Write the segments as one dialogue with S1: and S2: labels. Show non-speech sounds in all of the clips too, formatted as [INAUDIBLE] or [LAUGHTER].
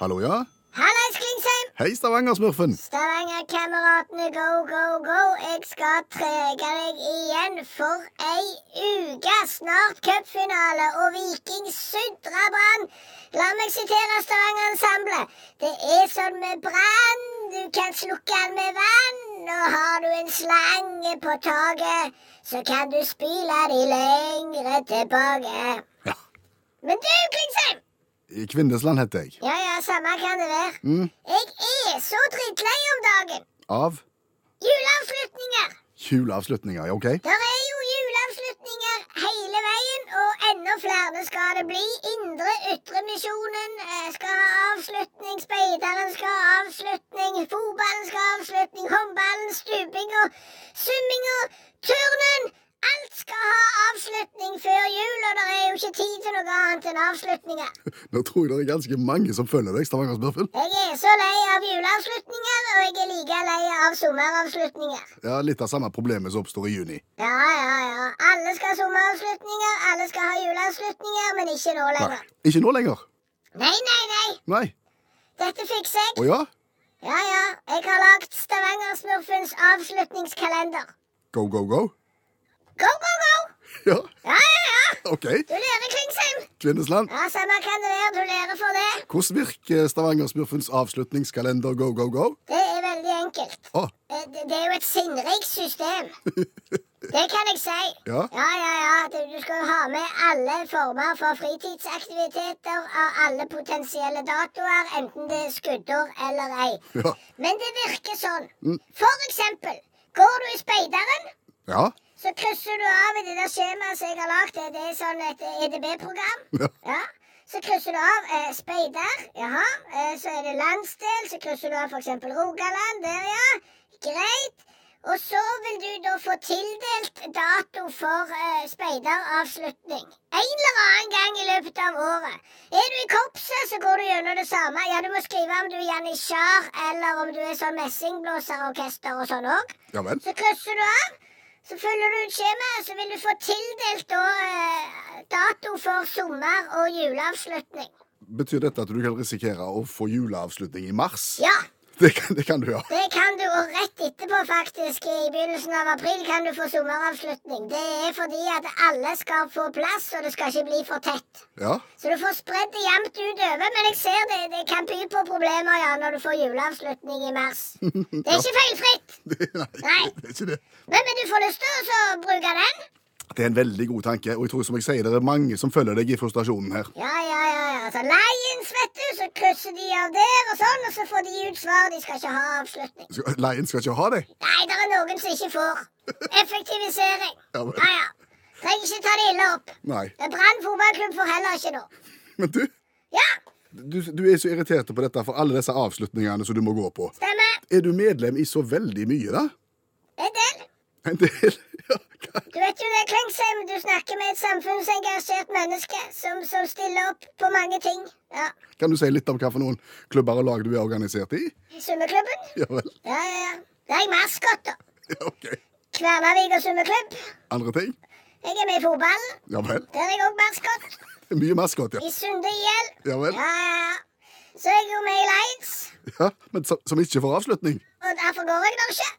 S1: Hallo, ja?
S2: Hallais, Klingsheim!
S1: Hei, Stavanger-smurfen.
S2: Stavanger-kameratene, go, go, go! Jeg skal trege deg igjen for ei uke! Snart cupfinale, og Viking sudrer Brann! La meg sitere Stavanger Ensemble. Det er sånn med brann, du kan slukke den med vann. Og har du en slange på taket, så kan du spyle de lengre tilbake.
S1: Ja.
S2: Men du, Klingsheim!
S1: I Kvindesland heter jeg.
S2: Ja, ja, samme kan det være. Jeg er så drittlei om dagen.
S1: Av
S2: Juleavslutninger.
S1: juleavslutninger, ja, OK?
S2: Der er jo juleavslutninger hele veien, og enda flere skal det bli. Indre Ytremisjonen eh, skal ha avslutning, speideren skal ha avslutning, fotballen skal ha avslutning, håndballen, stupinga, summinga, turnen. Alt skal ha avslutning før jul, og det er jo ikke tid til noe annet enn avslutninger.
S1: Nå tror jeg det er ganske mange som følger deg, Stavanger-smurfen.
S2: Jeg er så lei av juleavslutninger, og jeg er like lei av sommeravslutninger.
S1: Ja, litt av samme problemet som oppstår i juni.
S2: Ja, ja, ja. Alle skal ha sommeravslutninger, alle skal ha juleavslutninger, men ikke nå
S1: Nei.
S2: lenger.
S1: Ikke nå lenger.
S2: Nei, nei, nei.
S1: Nei.
S2: Dette fikser
S1: Å
S2: jeg.
S1: ja?
S2: Ja, ja. Jeg har lagd Stavanger-smurfens avslutningskalender.
S1: Go, go, go?
S2: Go, go, go!
S1: Ja,
S2: Ja, ja, ja.
S1: OK.
S2: Du lærer, Klingsheim.
S1: Kvindesland.
S2: Ja, samme kan det være. Du lærer for det.
S1: Hvordan virker Stavanger-smurfens avslutningskalender go, go, go?
S2: Det er veldig enkelt.
S1: Å,
S2: Eh, Det det er jo et sinnrikt system. Det kan jeg si.
S1: Ja.
S2: ja, ja. ja. Du, du skal jo ha med alle former for fritidsaktiviteter av alle potensielle datoer, enten det er skuddår eller ei.
S1: ja.
S2: Men det virker sånn. For eksempel, går du i speideren,
S1: Ja.
S2: så krysser du av i det der skjemaet som jeg har lagd. Det er sånn et EDB-program.
S1: Ja.
S2: Ja. Så krysser du av eh, speider. Jaha. Eh, så er det landsdel. Så krysser du av f.eks. Rogaland. Der, ja. Greit. Og så vil du da få tildelt dato for eh, speideravslutning. En eller annen gang i løpet av året. Er du i korpset, så går du gjennom det samme. Ja, du må skrive om du er janitsjar, eller om du er sånn messingblåserorkester og sånn òg.
S1: Ja vel.
S2: Så krysser du av. Så følger du ut skjemaet, så vil du få tildelt da, eh, dato for sommer- og juleavslutning.
S1: Betyr dette at du kan risikere å få juleavslutning i mars?
S2: Ja,
S1: Det kan, det kan du, ja.
S2: det kan du, og rett etterpå faktisk, i begynnelsen av april, kan du få sommeravslutning. Det er fordi at alle skal få plass, og det skal ikke bli for tett.
S1: Ja, [LAUGHS]
S2: Så du får spredd det jevnt utover, men jeg ser det, det kan by på problemer ja, når du får juleavslutning i mars. Det er ikke feilfritt,
S1: det, nei,
S2: Nei.
S1: det er ikke det.
S2: men, men du får lyst til å så bruke den.
S1: Det er en veldig god tanke, og jeg tror som jeg sier, det er mange som følger deg i frustrasjonen her.
S2: Ja, ja, ja. ja. Så Lions, vet du, så krysser de av der og sånn, og så får de ut svar. De skal ikke ha avslutning.
S1: Skal- Lion skal ikke ha deg.
S2: Nei, det er noen som ikke får. Effektivisering.
S1: Ja, vel.
S2: Ja, ja. Trenger ikke ta det ille opp.
S1: Nei.
S2: Brann fotballklubb får heller ikke noe.
S1: Men du,
S2: Ja,
S1: du, du er så irritert på dette for alle disse avslutningene som du må gå på.
S2: stemmer.
S1: Er du medlem i så veldig mye, da?
S2: En del.
S1: En del? Ja, hva-
S2: Du vet jo det, Klingsheim, du snakker med et samfunnsengasjert menneske som, som stiller opp på mange ting. Ja.
S1: kan du si litt om hva for noen klubber og lag du er organisert i?
S2: Summeklubben?
S1: Ja vel.
S2: Ja, ja, ja. Det er jeg maskot, da.
S1: Ja, OK.
S2: Kvernavik og summeklubb.
S1: Andre ting?
S2: Jeg er med i fotballen.
S1: Ja vel.
S2: Der er jeg òg maskot.
S1: Mye maskot, ja.
S2: I Sunde IL.
S1: Ja vel.
S2: Ja, ja, ja. Så er jeg jo med i Lions,
S1: ja. Men som, som ikke får avslutning? [LAUGHS]
S2: og derfor går jeg nok ikke.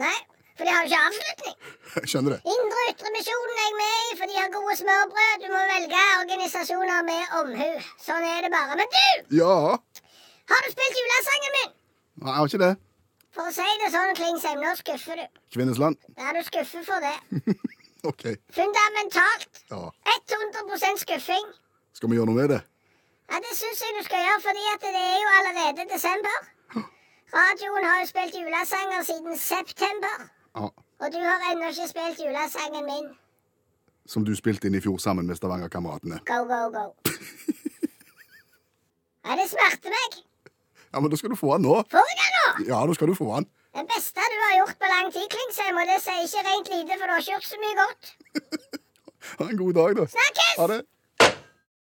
S2: Nei, for de har jo ikke avslutning.
S1: Jeg skjønner det.
S2: Indre og Ytre Misjonen er jeg med i, for de har gode smørbrød. Du må velge organisasjoner med omhu. Sånn er det bare. Men du!
S1: Ja.
S2: Har du spilt julesangen min?
S1: Nei, jeg har ikke det.
S2: For å si det sånn, Klingsheim, nå skuffer du.
S1: Kvinnesland?
S2: Ja, du skuffer for det.
S1: OK.
S2: Fundamentalt.
S1: Ja.
S2: 100 skuffing.
S1: Skal vi gjøre noe med det?
S2: Ja, Det syns jeg du skal gjøre, fordi at det er jo allerede desember. Radioen har jo spilt julesanger siden september,
S1: Ja.
S2: og du har ennå ikke spilt julesangen min.
S1: Som du spilte inn i fjor sammen med Stavanger-kameratene.
S2: Go, go, go. Ja, det smerter meg.
S1: Ja, men da skal du få han nå.
S2: Får jeg den nå?
S1: Ja, da skal du få han.
S2: Det beste du har gjort på lang tid, Klingsheim, og det sier ikke rent lite, for du har ikke gjort så mye godt.
S1: Ha en god dag, da.
S2: Snakkes!
S1: Ha det.